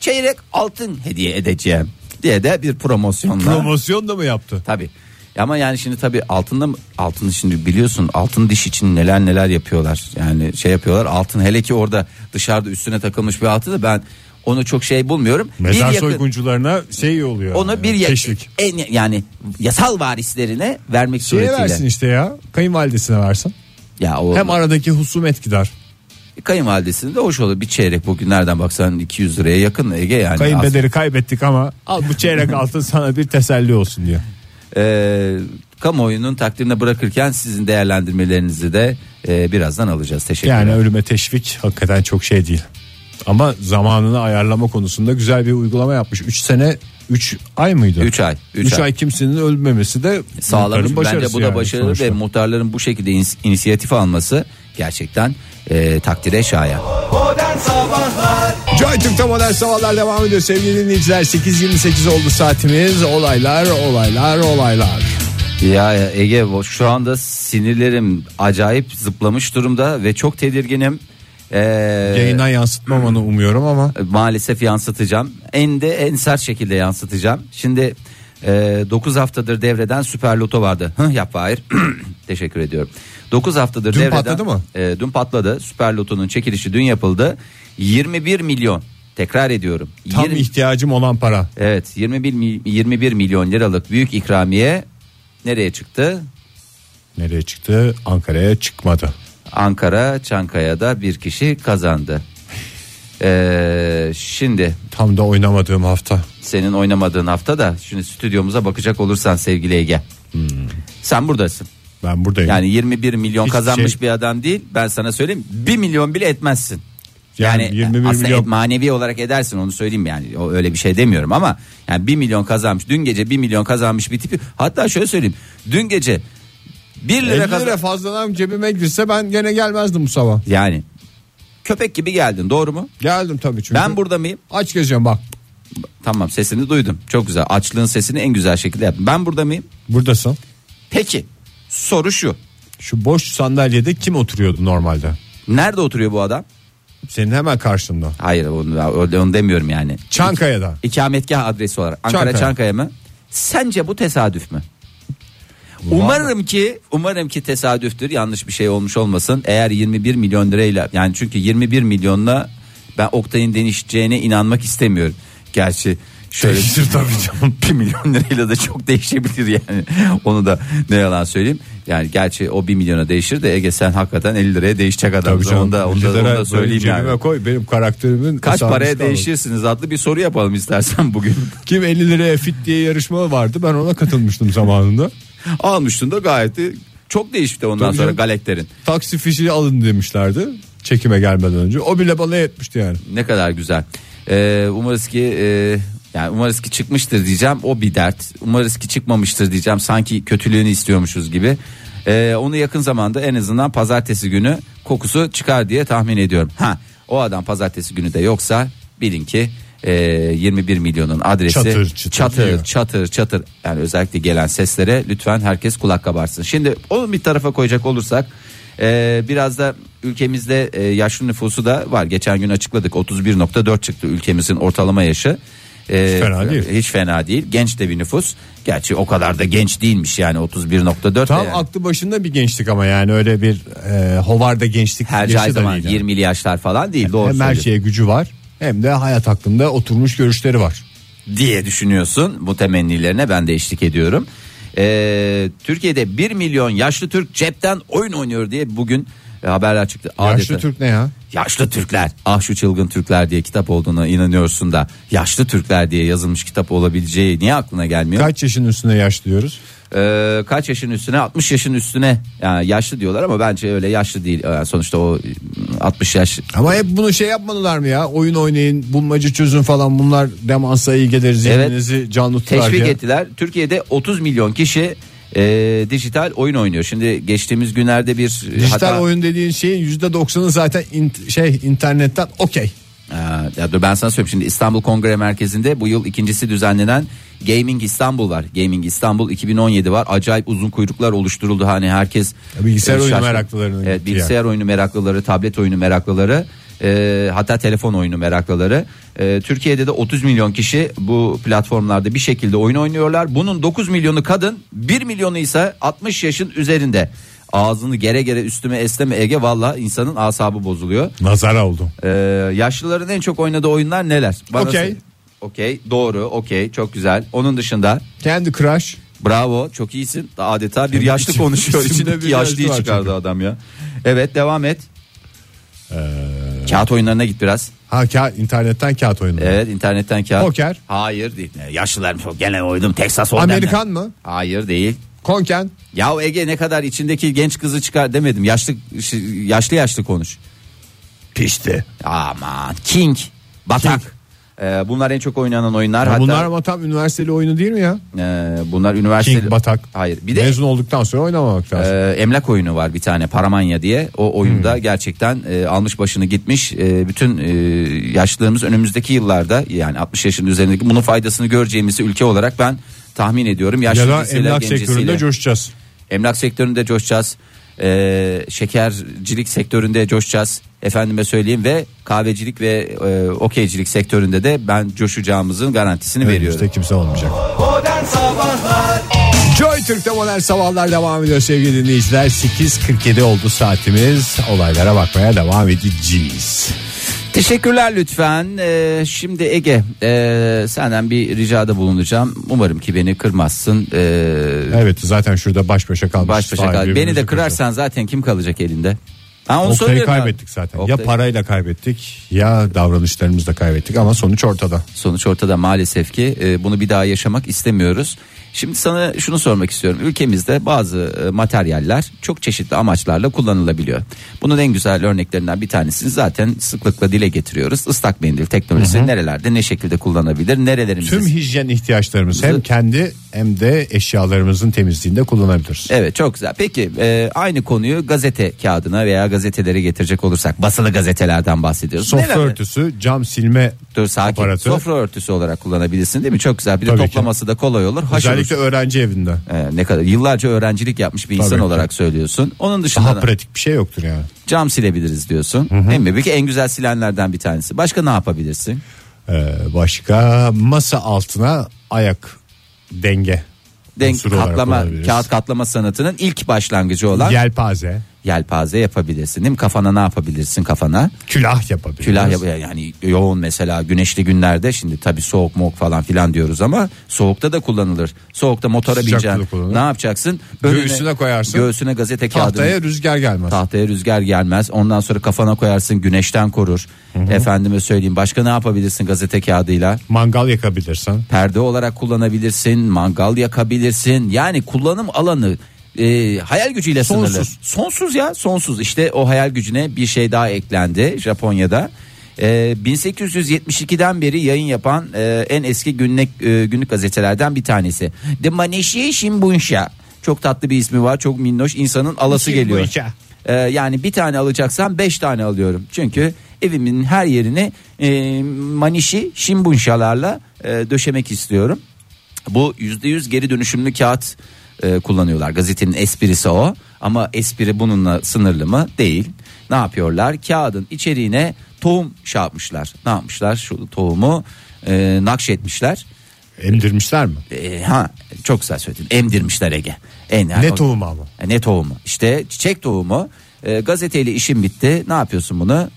çeyrek altın hediye edeceğim diye de bir promosyonla.
Promosyon da mı yaptı?
Tabii. Ama yani şimdi tabii altında mı- altın şimdi biliyorsun altın diş için neler neler yapıyorlar. Yani şey yapıyorlar altın hele ki orada dışarıda üstüne takılmış bir altın da ben onu çok şey bulmuyorum. Bir
Mezar
yakın-
soyguncularına şey oluyor.
onu bir ya-
teşvik.
en yani yasal varislerine vermek
Şeye
suretiyle.
versin işte ya. Kayınvalidesine versin.
Ya o
Hem aradaki husumet gider.
kayınvalidesinin de hoş olur. Bir çeyrek bugün nereden baksan 200 liraya yakın Ege yani.
Kayınpederi kaybettik ama al bu çeyrek altın sana bir teselli olsun diyor.
Aslında, e, kamuoyunun takdirine bırakırken sizin değerlendirmelerinizi de e, birazdan alacağız. Teşekkürler.
Yani ölüme teşvik hakikaten çok şey değil. Ama zamanını ayarlama konusunda güzel bir uygulama yapmış. 3 sene 3 ay mıydı?
3 ay.
3
3 ay.
ay kimsenin ölmemesi de
Sağlamış
muhtarın
bence
başarısı
bu da
yani
başarılı
sonuçta.
ve muhtarların bu şekilde ins- inisiyatif alması gerçekten e, takdire şayan.
Modern Sabahlar
Joy Türk'te modern sabahlar devam ediyor sevgili dinleyiciler 8.28 oldu saatimiz olaylar olaylar olaylar
Ya e, Ege şu anda sinirlerim acayip zıplamış durumda ve çok tedirginim. Ee,
Yayından yansıtmamanı umuyorum ama
maalesef yansıtacağım. En de en sert şekilde yansıtacağım. Şimdi 9 haftadır devreden Süper Loto vardı. Hı yap hayır. *clears throat* Teşekkür ediyorum. 9 haftadır
Dün
devreden.
patladı mı?
E, dün patladı. Süper Loto'nun çekilişi dün yapıldı. 21 milyon. Tekrar ediyorum.
tam
20
ihtiyacım olan para
Evet 21 mi- 21 milyon liralık büyük ikramiye nereye çıktı?
nereye çıktı Ankara'ya çıkmadı
Ankara Çankaya'da bir kişi kazandı. Ee, şimdi
tam da oynamadığım hafta
senin oynamadığın hafta da şimdi stüdyomuza bakacak olursan sevgili Ege.
Hmm.
Sen buradasın.
ben buradayım yani,
Yani 21 milyon
Hiçbir
kazanmış
şey-
bir adam değil. Ben sana söyleyeyim 1 milyon bile etmezsin. Yani,
Yani 21
aslında
milyon-
et- manevi olarak edersin onu söyleyeyim yani o öyle bir şey demiyorum ama yani 1 milyon kazanmış dün gece 1 milyon kazanmış bir tipi hatta şöyle söyleyeyim dün gece 1 lira,
50
kazan-
lira fazladan cebime girse ben gene gelmezdim bu sabah
yani köpek gibi geldin doğru mu?
geldim tabii çünkü
Ben burada mıyım?
aç gezeceğim bak
Tamam sesini duydum. Çok güzel. Açlığın sesini en güzel şekilde yaptım. Ben burada mıyım?
buradasın
Peki soru şu.
Şu boş sandalyede kim oturuyordu normalde?
Nerede oturuyor bu adam?
Senin hemen karşında.
Hayır onu, onu demiyorum yani.
Çankaya'da.
İkametgah adresi olarak. Ankara
Çankaya.
Çankaya, mı? Sence bu tesadüf mü? Umarım ki umarım ki tesadüftür. Yanlış bir şey olmuş olmasın. Eğer 21 milyon lirayla yani çünkü 21 milyonla ben Oktay'ın değişeceğine inanmak istemiyorum. Gerçi
*laughs*
şöyle
Değişir tabii
*laughs*
canım.
1 milyon lirayla da çok değişebilir yani. Onu da ne yalan söyleyeyim. Yani gerçi o 1 milyona değişir de Ege sen hakikaten 50 liraya değişecek adam.
Tabii
Onu da,
canım.
onu, da, onu da
Lira
söyleyeyim
cebime
yani.
koy benim karakterimin.
Kaç
hesabını
paraya
çıkaralım.
değişirsiniz adlı bir soru yapalım istersen bugün. *laughs*
Kim 50 liraya fit diye yarışma vardı ben ona katılmıştım zamanında.
Almıştın da gayet de çok değişti ondan
Tabii
sonra
canım.
galeklerin.
Taksi fişi alın demişlerdi çekime gelmeden önce. O bile bana yetmişti yani.
Ne kadar güzel. Ee, umarız ki e, yani umarız ki çıkmıştır diyeceğim. O bir dert. Umarız ki çıkmamıştır diyeceğim. Sanki kötülüğünü istiyormuşuz gibi. Ee, onu yakın zamanda en azından pazartesi günü kokusu çıkar diye tahmin ediyorum. Ha o adam pazartesi günü de yoksa bilin ki e, 21 milyonun adresi
Çatır çıtır
çatır,
diyor.
çatır çatır. yani özellikle gelen seslere lütfen herkes kulak kabarsın. Şimdi onu bir tarafa koyacak olursak e, biraz da ülkemizde e, yaşlı nüfusu da var. Geçen gün açıkladık 31.4 çıktı ülkemizin ortalama yaşı. E,
Hiç fena değil.
Hiç fena değil. Genç de bir nüfus. Gerçi o kadar da genç değilmiş yani 31.4 de
Tam
yani.
aklı başında bir gençlik ama yani öyle bir e, hovarda gençlik
her
yaşı
her
da
zaman
değil yani.
20'li yaşlar falan değil doğru
Hem her
söylüyorsun.
şey şeye gücü var hem de hayat hakkında oturmuş görüşleri var.
diye düşünüyorsun. Bu temennilerine ben de eşlik ediyorum. Ee, Türkiye'de 1 milyon yaşlı Türk cepten oyun oynuyor diye bugün e, haberler çıktı.
Yaşlı
Adeta-
Türk ne ya?
Yaşlı Türkler. Ah şu çılgın Türkler diye kitap olduğuna inanıyorsun da yaşlı Türkler diye yazılmış kitap olabileceği niye aklına gelmiyor?
Kaç yaşın üstüne yaş diyoruz?
Ee, kaç yaşın üstüne 60 yaşın üstüne yani yaşlı diyorlar ama bence öyle yaşlı değil. Ee, sonuçta o e, 60 yaş
Ama hep bunu şey yapmadılar mı ya? Oyun oynayın, bulmaca çözün falan bunlar demansa iyi gelir zihninizi canlı tutar
teşvik
diye.
ettiler. Türkiye'de 30 milyon kişi e, dijital oyun oynuyor. Şimdi geçtiğimiz günlerde bir e,
Dijital
hata-
oyun dediğin şeyin %90'ı zaten int- şey internetten okey.
Aa, Ee, ya dur ben sana söyleyeyim şimdi İstanbul Kongre Merkezi'nde bu yıl ikincisi düzenlenen Gaming İstanbul var. Gaming İstanbul 2017 var. Acayip uzun kuyruklar oluşturuldu. Hani herkes e,
Bilgisayar oyunu
şaşkın.
meraklılarının
Evet,
gittiği
bilgisayar oyunu meraklıları, tablet oyunu meraklıları, e, hatta telefon oyunu meraklıları. E, Türkiye'de de 30 milyon kişi bu platformlarda bir şekilde oyun oynuyorlar. Bunun 9 milyonu kadın, 1 milyonu ise 60 yaşın üzerinde. Ağzını gere gere üstüme esleme Ege valla insanın asabı bozuluyor.
Nazara oldu.
Ee, yaşlıların en çok oynadığı oyunlar neler? Bana
Okey.
söyle. Okey doğru okey çok güzel. Onun dışında
Kendi Crash.
bravo çok iyisin. Adeta bir yaşlı
İçim-
konuşuyor.
içimde
İçinde
bir
bir
yaşlı
yaşlıyı
var
çıkardı
çünkü. Ee,
adam ya. Evet devam et. Kağıt oyunlarına git biraz.
Ha ka- internetten kağıt oyunu.
Evet internetten kağıt.
Poker.
Hayır değil. Yaşlılar gene oydum Texas Hold'em.
Amerikan mı?
Hayır değil.
Konken.
Ya Ege ne kadar içindeki genç kızı çıkar demedim. Yaşlı yaşlı yaşlı konuş.
Pişti.
Aman King, Batak. Ee, bunlar en çok oynanan oyunlar.
Ya
Hatta
bunlar ama tam üniversiteli oyunu değil mi ya?
Ee, bunlar üniversite
King, Batak.
Hayır. Bir de
Mezun olduktan sonra oynamamak lazım.
e, emlak oyunu var bir tane Paramanya diye. O oyunda
Hmm.
gerçekten e, almış başını gitmiş. E, bütün e, yaşlılarımız önümüzdeki yıllarda yani 60 yaşın üzerindeki bunun faydasını göreceğimizi ülke olarak ben tahmin ediyorum. Yaşlı
ya da
cinsiyetler
emlak
Ee, gencesiyle-
sektöründe coşacağız.
Emlak sektöründe coşacağız. Ee, şekercilik sektöründe coşacağız. Efendime söyleyeyim ve kahvecilik ve e, okeycilik sektöründe de ben coşacağımızın garantisini veriyorum.
Önümüzde kimse olmayacak.
Modern Sabahlar
Joy Türk'te modern sabahlar devam ediyor sevgili dinleyiciler. 8.47 oldu saatimiz. Olaylara bakmaya devam edeceğiz.
Teşekkürler lütfen. Ee, şimdi Ege e, senden bir ricada bulunacağım. Umarım ki beni kırmazsın. Ee,
Evet zaten şurada baş başa kalmış.
baş başa kal. Beni de kırarsan zaten kim kalacak elinde? Ha, onu
Oktay'ı
söylüyorum abi.
kaybettik zaten.
Oktay-
Ya parayla kaybettik ya davranışlarımızla kaybettik ama sonuç ortada.
Sonuç ortada maalesef ki e, bunu bir daha yaşamak istemiyoruz. Şimdi sana şunu sormak istiyorum. Ülkemizde bazı e, materyaller çok çeşitli amaçlarla kullanılabiliyor. Bunun en güzel örneklerinden bir tanesini zaten sıklıkla dile getiriyoruz. Islak mendil teknolojisi nerelerde ne şekilde kullanabilir? Nerelerimizde?
Tüm hijyen ihtiyaçlarımız hem kendi hem de eşyalarımızın temizliğinde kullanabiliriz.
Evet çok güzel. Peki e, aynı konuyu gazete kağıdına veya gazetelere getirecek olursak basılı gazetelerden bahsediyoruz.
Sofra
Neler-
örtüsü, cam silme
konduktör, sakin
Aparatör.
sofra örtüsü olarak kullanabilirsin değil mi? Çok güzel. Bir de
Tabii ki.
toplaması da kolay olur. Haşır
Özellikle öğrenci evinde.
ee, ne kadar yıllarca öğrencilik yapmış bir insan
Tabii.
olarak söylüyorsun. Onun dışında
Daha
da
pratik bir şey yoktur yani.
cam silebiliriz diyorsun. Değil mi? Peki en güzel silenlerden bir tanesi. Başka ne yapabilirsin?
Ee, başka masa altına ayak denge.
Denk
unsuru olarak
katlama,
olabilir.
kağıt katlama sanatının ilk başlangıcı olan
Yelpaze,
yelpaze yapabilirsin. Değil mi? Kafana ne yapabilirsin kafana?
külah yapabiliriz.
Külah yap- yani yoğun mesela güneşli günlerde şimdi tabii soğuk mok falan filan diyoruz ama soğukta da kullanılır. Soğukta motora
Sıcakta da
bineceksin.
kullanılır.
Ne yapacaksın?
Göğsüne koyarsın.
Göğsüne gazete kağıdını.
Tahtaya rüzgar gelmez.
Tahtaya rüzgar gelmez. Ondan sonra kafana koyarsın güneşten korur. Efendime söyleyeyim başka ne yapabilirsin gazete kağıdıyla?
Mangal yakabilirsin.
Perde olarak kullanabilirsin, mangal yakabilirsin. Yani kullanım alanı e, hayal gücüyle
Sonsuz.
sınırlı. Sonsuz ya sonsuz. İşte o hayal gücüne bir şey daha eklendi Japonya'da. E, 1872'den beri yayın yapan e, en eski günlük, e, günlük gazetelerden bir tanesi. The Maneshi Shimbuncha. Çok tatlı bir ismi var. Çok minnoş. insanın alası geliyor.
Shimbuncha.
Ee, yani bir tane alacaksam beş tane alıyorum. Çünkü evimin her yerini e, manişi şimbunşalarla e, döşemek istiyorum. Bu yüzde yüz geri dönüşümlü kağıt e, kullanıyorlar. Gazetenin esprisi o ama espri bununla sınırlı mı? Değil. Ne yapıyorlar? Kağıdın içeriğine tohum şey yapmışlar. Ne yapmışlar? Şu tohumu e, nakşetmişler.
Emdirmişler mi?
E, ha çok güzel söyledin. Emdirmişler Ege. En,
Ne tohumu ama?
E, Ne tohumu? İşte çiçek tohumu. E, gazeteyle işim bitti. Ne yapıyorsun bunu?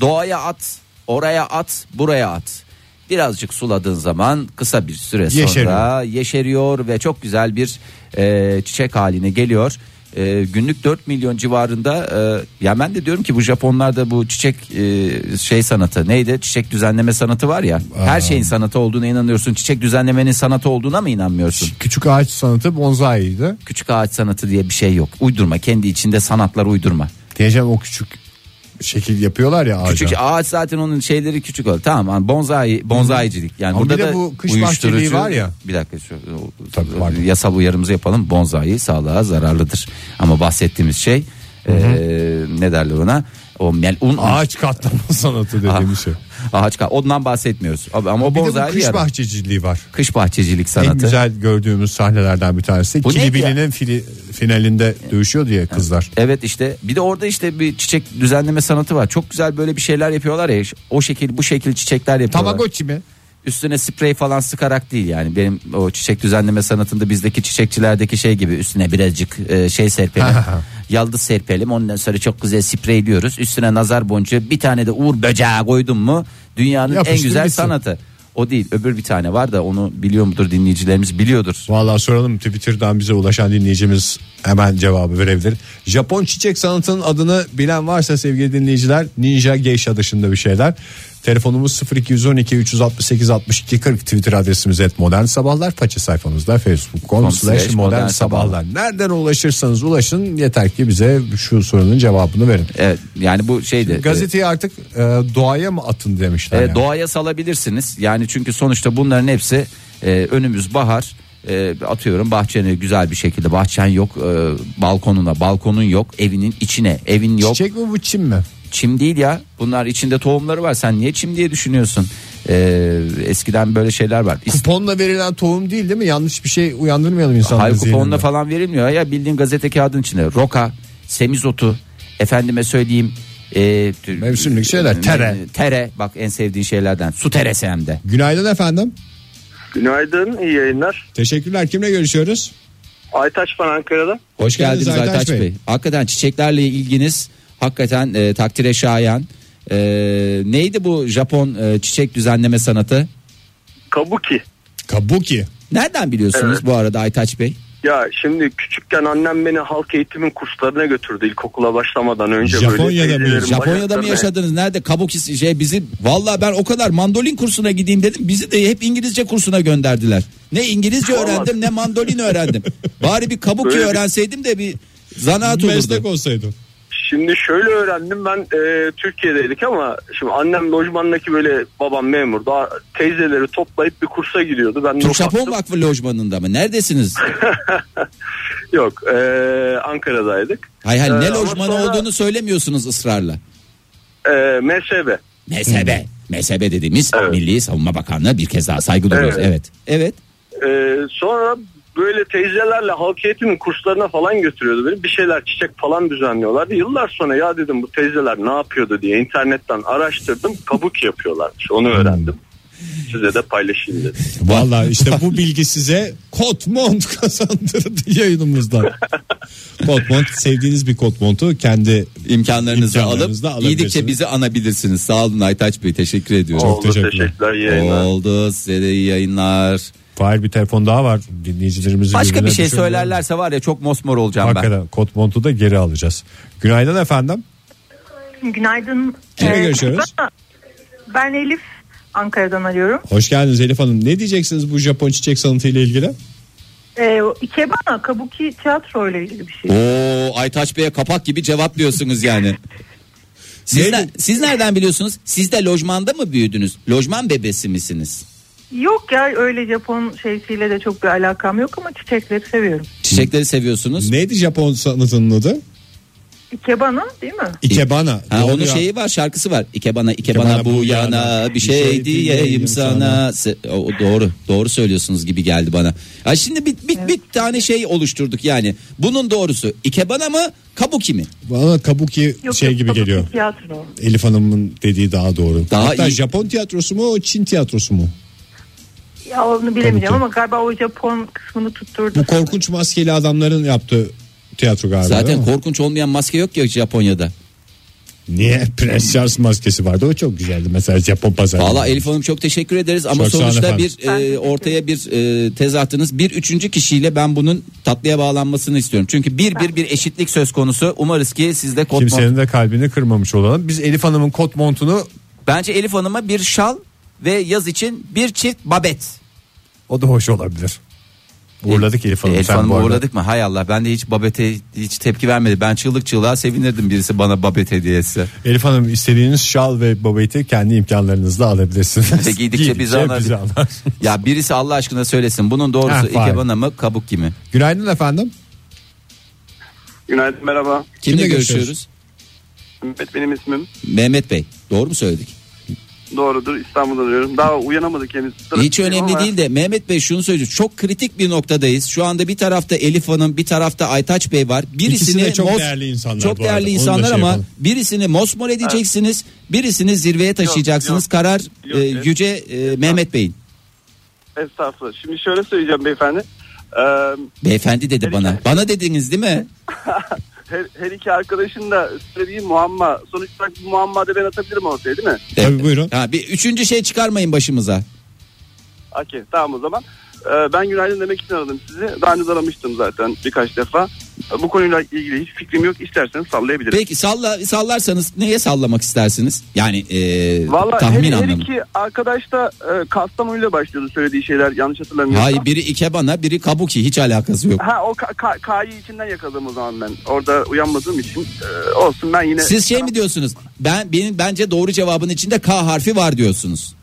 Doğaya at, oraya at, buraya at. Birazcık suladığın zaman kısa bir süre sonra
Yeşeriyor.
yeşeriyor ve çok güzel bir e, çiçek haline geliyor. E, günlük 4 milyon civarında e, ya ben de diyorum ki bu Japonlarda bu çiçek e, şey sanatı neydi? Çiçek düzenleme sanatı var ya. Her şeyin sanatı olduğuna inanıyorsun. Çiçek düzenlemenin sanatı olduğuna mı inanmıyorsun?
Küçük ağaç sanatı bonzai'ydi.
küçük ağaç sanatı diye bir şey yok. Uydurma kendi içinde sanatlar uydurma.
Diyeceğim o küçük şekil yapıyorlar ya ağaca.
Küçük ağaç zaten onun şeyleri küçük olur. Tamam hani bonzai bonzaicilik. Yani
Ama
burada
bir de
da
bu kış
uyuşturucu-
bahçeliği var ya.
Bir dakika şu o-
Tabii,
o-
pardon.
yasal uyarımızı yapalım. Bonzai sağlığa zararlıdır. Ama bahsettiğimiz şey eee, ne derler ona? O melun
Ağaç katlama *laughs* sanatı
Ah,
dediğimiz şey.
Ağaç ka- ondan bahsetmiyoruz. Ama ama o
Bir de bu
bonzai
kış
yarar.
bahçeciliği var.
kış bahçecilik
En
sanatı.
güzel gördüğümüz sahnelerden bir tanesi.
Bu neydi
Kilibili'nin fili, finalinde dövüşüyordu ya kızlar.
Evet işte bir de orada işte bir çiçek düzenleme sanatı var. Çok güzel böyle bir şeyler yapıyorlar ya. O şekil bu şekil çiçekler yapıyorlar.
Tamagotchi mi?
Üstüne sprey falan sıkarak değil yani. Benim o çiçek düzenleme sanatında bizdeki çiçekçilerdeki şey gibi üstüne birazcık e, şey serpelim. yaldız serpelim. Ondan sonra çok güzel spreyliyoruz. Üstüne nazar boncuğu bir tane de uğur böceği koydum mu dünyanın en
Yapıştır
güzel
gitsin.
sanatı. O değil. Öbür bir tane var da onu biliyor mudur dinleyicilerimiz biliyordur.
Vallahi soralım Twitter'dan bize ulaşan dinleyicimiz hemen cevabı verebilir. Japon çiçek sanatının adını bilen varsa sevgili dinleyiciler Ninja Geisha dışında bir şeyler. Telefonumuz 0212 368 62 40 Twitter adresimiz et modern sabahlar. Faça sayfamızda facebook.com slash modern sabahlar. Nereden ulaşırsanız ulaşın yeter ki bize şu sorunun cevabını verin.
Evet, yani bu şeydi.
Gazeteyi artık e, doğaya mı atın demişler.
E,
yani.
Doğaya salabilirsiniz. Yani çünkü sonuçta bunların hepsi e, önümüz bahar. E, atıyorum bahçeni güzel bir şekilde bahçen yok e, balkonuna balkonun yok evinin içine evin yok
Çiçek mi bu çim mi?
çim değil ya bunlar içinde tohumları var sen niye çim diye düşünüyorsun E, eskiden böyle şeyler var İst-
Kuponla verilen tohum değil değil mi? Yanlış bir şey uyandırmayalım insanların
Hayır kuponla
zihninde.
falan verilmiyor ya bildiğin gazete kağıdının içinde roka, semizotu, efendime söyleyeyim e, tü-
Mevsimlik şeyler, tere.
tere bak en sevdiğin şeylerden su teresi hem de
Günaydın efendim.
Günaydın, iyi yayınlar.
Teşekkürler. Kimle görüşüyoruz?
Aytaç ben Ankara'da.
Hoş geldiniz Aytaç Bey. Hakikaten çiçeklerle ilginiz hakikaten e, takdire şayan. E, neydi bu Japon e, çiçek düzenleme sanatı?
Kabuki.
Kabuki.
Nereden biliyorsunuz
Evet.
bu arada Aytaç Bey?
Ya şimdi küçükken annem beni halk eğitimin kurslarına götürdü ilkokula başlamadan önce.
Japonya'da mı?
böyle teyzelerin
Japonya'da mı
bacaklarına-
yaşadınız? Nerede? Kabuki şey bizi valla ben o kadar mandolin kursuna gideyim dedim. Bizi de hep İngilizce kursuna gönderdiler. Ne İngilizce
Vallahi.
öğrendim ne mandolin
*laughs*
öğrendim. Bari bir kabuki
Böyle bir-
öğrenseydim de bir zanaat olurdu.
Meslek olsaydı.
Şimdi şöyle öğrendim ben e, Türkiye'deydik ama şimdi annem lojmandaki böyle babam memur daha teyzeleri toplayıp bir kursa gidiyordu. Ben de
Türk
ufaktım.
Japon Vakfı lojmanında mı? Neredesiniz?
Yok e, Ankara'daydık.
Hay hay
Ee,
ne
ama
lojmanı
sonra-
olduğunu söylemiyorsunuz ısrarla.
E, MSB.
Mezhebe. MSB dediğimiz
Evet.
Milli Savunma Bakanlığı bir kez daha saygı duyuyoruz.
Evet.
Evet. Evet.
Ee, sonra böyle teyzelerle halk eğitimin kurslarına falan götürüyordu beni. Bir şeyler çiçek falan düzenliyorlardı. Yıllar sonra ya dedim bu teyzeler ne yapıyordu diye internetten araştırdım. Kabuk yapıyorlarmış. Onu öğrendim. Size de paylaşayım dedim.
Valla işte *laughs* bu bilgi size Kotmont kazandırdı yayınımızdan. Kotmont sevdiğiniz bir Kotmont'u kendi
İmkanlarınızı
İmkanlarınızla
alıp
alabilirsiniz.
yedikçe bizi anabilirsiniz. Sağ olun Aytaç Bey teşekkür ediyorum.
Oldu
teşekkürler.
teşekkürler. iyi yayınlar.
Oldu size de iyi yayınlar.
Fahir bir telefon daha var dinleyicilerimizin.
Başka
birbirine
bir şey
düşürdüğü-
söylerlerse var ya çok mosmor olacağım ben.
Hakikaten Kotmont'u da geri alacağız. Günaydın efendim.
Günaydın.
Kimle
Ee,
görüşüyoruz?
Ben, ben Elif Ankara'dan arıyorum.
Hoş geldiniz Elif Hanım. Ne diyeceksiniz bu Japon çiçek sanatı ile ilgili?
Ee, Ikebana Kabuki tiyatro ile ilgili bir şey.
Oo Aytaç Bey'e kapak gibi
*laughs*
cevaplıyorsunuz yani. Siz, ne- siz nereden biliyorsunuz? Siz de lojmanda mı büyüdünüz? Lojman bebesi misiniz?
Yok ya öyle Japon şeysiyle de çok bir alakam yok ama çiçekleri seviyorum.
Çiçekleri seviyorsunuz.
Neydi Japon sanatının adı?
Ikebana değil mi?
Ikebana.
Ha,
Doğru
onun
ya.
şeyi var şarkısı var. Ikebana ikebana,
Ikebana
bu yana bir şey diyeyim sana. Se- o- o doğru doğru söylüyorsunuz gibi geldi bana. Ha şimdi bir, bir, bir tane şey oluşturduk yani. Bunun doğrusu ikebana mı kabuki mi?
Bana kabuki
Yok,
şey
yok,
gibi
Kabuki
geliyor.
Tiyatro.
Elif Hanım'ın dediği daha doğru.
Daha
Hatta
iyi.
Japon tiyatrosu mu o Çin tiyatrosu mu?
Ya onu bilemeyeceğim
Kabuki.
ama galiba o Japon kısmını tutturdu.
Bu korkunç maskeli adamların yaptığı tiyatro galiba. değil
Zaten
mi?
korkunç olmayan maske yok ya Japonya'da.
Niye? *laughs* Prens Charles maskesi vardı o çok güzeldi mesela Japon pazarı.
Valla Elif Hanım çok teşekkür ederiz ama
Çok sağ olun
sonuçta
efendim.
bir e, ortaya bir e, tez attınız. Bir üçüncü kişiyle ben bunun tatlıya bağlanmasını istiyorum. Çünkü bir bir bir eşitlik söz konusu. Umarız ki siz de kot mont-
Kimsenin de kalbini kırmamış olalım. Biz Elif Hanım'ın Kotmont'unu
Bence Elif Hanım'a bir şal ve yaz için bir çift babet.
o da hoş olabilir. Uğurladık Elif Hanım.
Elif
sen bu
Hanım'ı
arada.
uğurladık mı? Hay Allah ben de hiç babete hiç tepki vermedi. Ben çığlık çığlığa sevinirdim birisi bana babet hediyesi.
Elif Hanım istediğiniz şal ve babeti kendi imkanlarınızla alabilirsiniz.
*laughs*
Ve giydikçe bizi anar.
bizi anar.
*laughs* Ya birisi Allah aşkına söylesin bunun doğrusu
Ha, var.
ikebana mı kabuk gibi.
Günaydın efendim.
Günaydın merhaba.
Kimle,
Kimle
görüşüyoruz?
görüşüyoruz?
Mehmet benim ismim.
Mehmet Bey doğru mu söyledik?
Doğrudur İstanbul'dan arıyorum. Daha uyanamadık henüz.
Hiç önemli değil de Mehmet Bey şunu söyleyeceğim. Çok kritik bir noktadayız. Şu anda bir tarafta Elif Hanım, bir tarafta Aytaç Bey var.
İkisi
Birisini
de çok
mos-
değerli insanlar
Çok
bu arada.
değerli
Onu da
insanlar
şey
ama
yapalım.
birisini mosmor edeceksiniz, birisini zirveye taşıyacaksınız.
yok.
Karar
Yok,
e,
evet.
yüce e, Mehmet Bey'in.
Estağfurullah. Şimdi şöyle söyleyeceğim beyefendi. Ee,
Beyefendi dedi
Evet.
bana. Bana dediniz değil mi?
her, her iki arkadaşın da söylediği muamma. Sonuç olarak bir muamma da ben atabilirim ortaya değil mi?
Tabii buyurun.
Ha bir üçüncü şey çıkarmayın başımıza.
Okey tamam o zaman. Ee, ben günaydın demek için aradım sizi. Daha önce de aramıştım zaten birkaç defa. Ee, Bu konuyla ilgili hiç fikrim yok. İsterseniz sallayabilirim.
Peki salla sallarsanız neye sallamak istersiniz? Yani e,
Vallahi her,
tahmin
her
anlamında.
iki arkadaş da e, Kastamonu ile başlıyordu söylediği şeyler yanlış hatırlamıyorsam.
Hayır biri ikebana, biri kabuki hiç alakası yok.
Ha o Ka- Ka- K'yı içinden yakaladım o zaman ben. Orada uyanmadığım için e, olsun ben yine...
Siz şey mi diyorsunuz? Ben benim bence doğru cevabın içinde K harfi var diyorsunuz.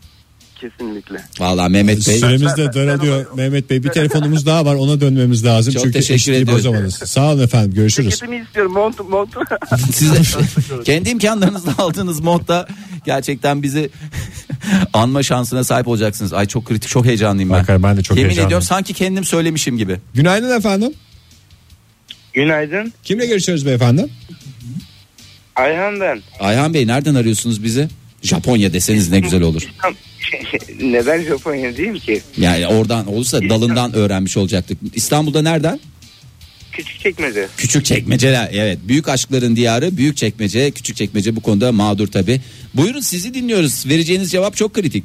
Kesinlikle.
Vallahi Mehmet Bey.
Süremiz de
Ben- ben-
daralıyor
ben-
Mehmet Bey. Bir telefonumuz daha var ona dönmemiz lazım.
Çok
Çünkü
teşekkür
eşitliği
ediyoruz.
bozamadınız. Sağ olun efendim görüşürüz.
Ceketimi istiyorum montu montu. *laughs*
*laughs*
Size kendi imkanlarınızla aldığınız modda gerçekten bizi *laughs* anma şansına sahip olacaksınız. Ay çok kritik, çok heyecanlıyım ben.
Hakikaten ben de çok
Yemin
heyecanlıyım.
ediyorum sanki kendim söylemişim gibi.
Günaydın efendim.
Günaydın.
Kimle görüşüyoruz beyefendi?
Ayhan ben.
Ayhan Bey nereden arıyorsunuz bizi? Japonya deseniz ne güzel olur.
*laughs* Neden Japonya değil ki?
Yani oradan olursa dalından öğrenmiş olacaktık. İstanbul'da nereden?
Küçük çekmedi.
Küçük çekmeceler. Evet. Büyük aşkların diyarı büyük çekmece. Küçük çekmece bu konuda mağdur tabi. Buyurun sizi dinliyoruz. Vereceğiniz cevap çok kritik.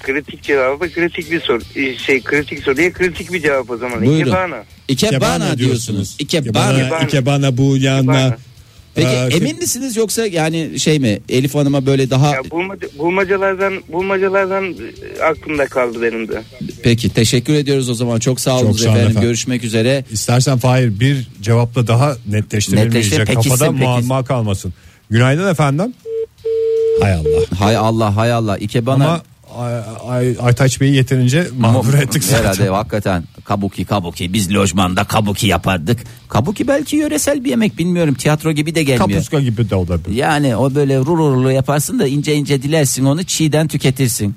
Kritik cevabı kritik bir soru. Ee, Şey kritik soruya kritik bir cevap o zaman.
Buyurun.
İkebana.
İkebana diyorsunuz. İkebana.
Ikebana, Ikebana bu yana.
Ikebana.
Peki
Ee,
emin misiniz yoksa yani şey mi Elif Hanım'a böyle daha
Ya bulmaca, bulmacalardan bulmacalardan e, aklımda kaldı benim de.
peki teşekkür ediyoruz o zaman çok sağ olun
Çok sağ olun
efendim.
efendim.
görüşmek üzere.
İstersen Fahir bir cevapla daha netleştirilmeyecek.
Netleştir, pekişsin,
Kafada
pekişsin.
muamma kalmasın. Günaydın efendim. Hay Allah.
Hay Allah hay Allah İkebana
Ama
Ay, Ay- Aytaç Bey'i yeterince mağdur ettik zaten.
Herhalde hakikaten kabuki kabuki biz lojmanda kabuki yapardık. Kabuki belki yöresel bir yemek bilmiyorum tiyatro gibi de gelmiyor.
Kapuska gibi de olabilir.
Yani o böyle rururlu yaparsın da ince ince dilersin onu çiğden tüketirsin.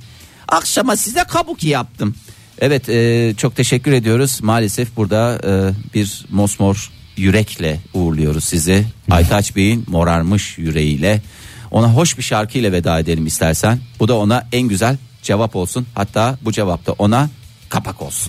Akşama size kabuki yaptım. Evet e, çok teşekkür ediyoruz. Maalesef burada e, bir mosmor yürekle uğurluyoruz sizi. Aytaç Bey'in morarmış yüreğiyle. Ona hoş bir şarkıyla veda edelim istersen. Bu da ona en güzel cevap olsun. Hatta bu cevap da ona kapak olsun.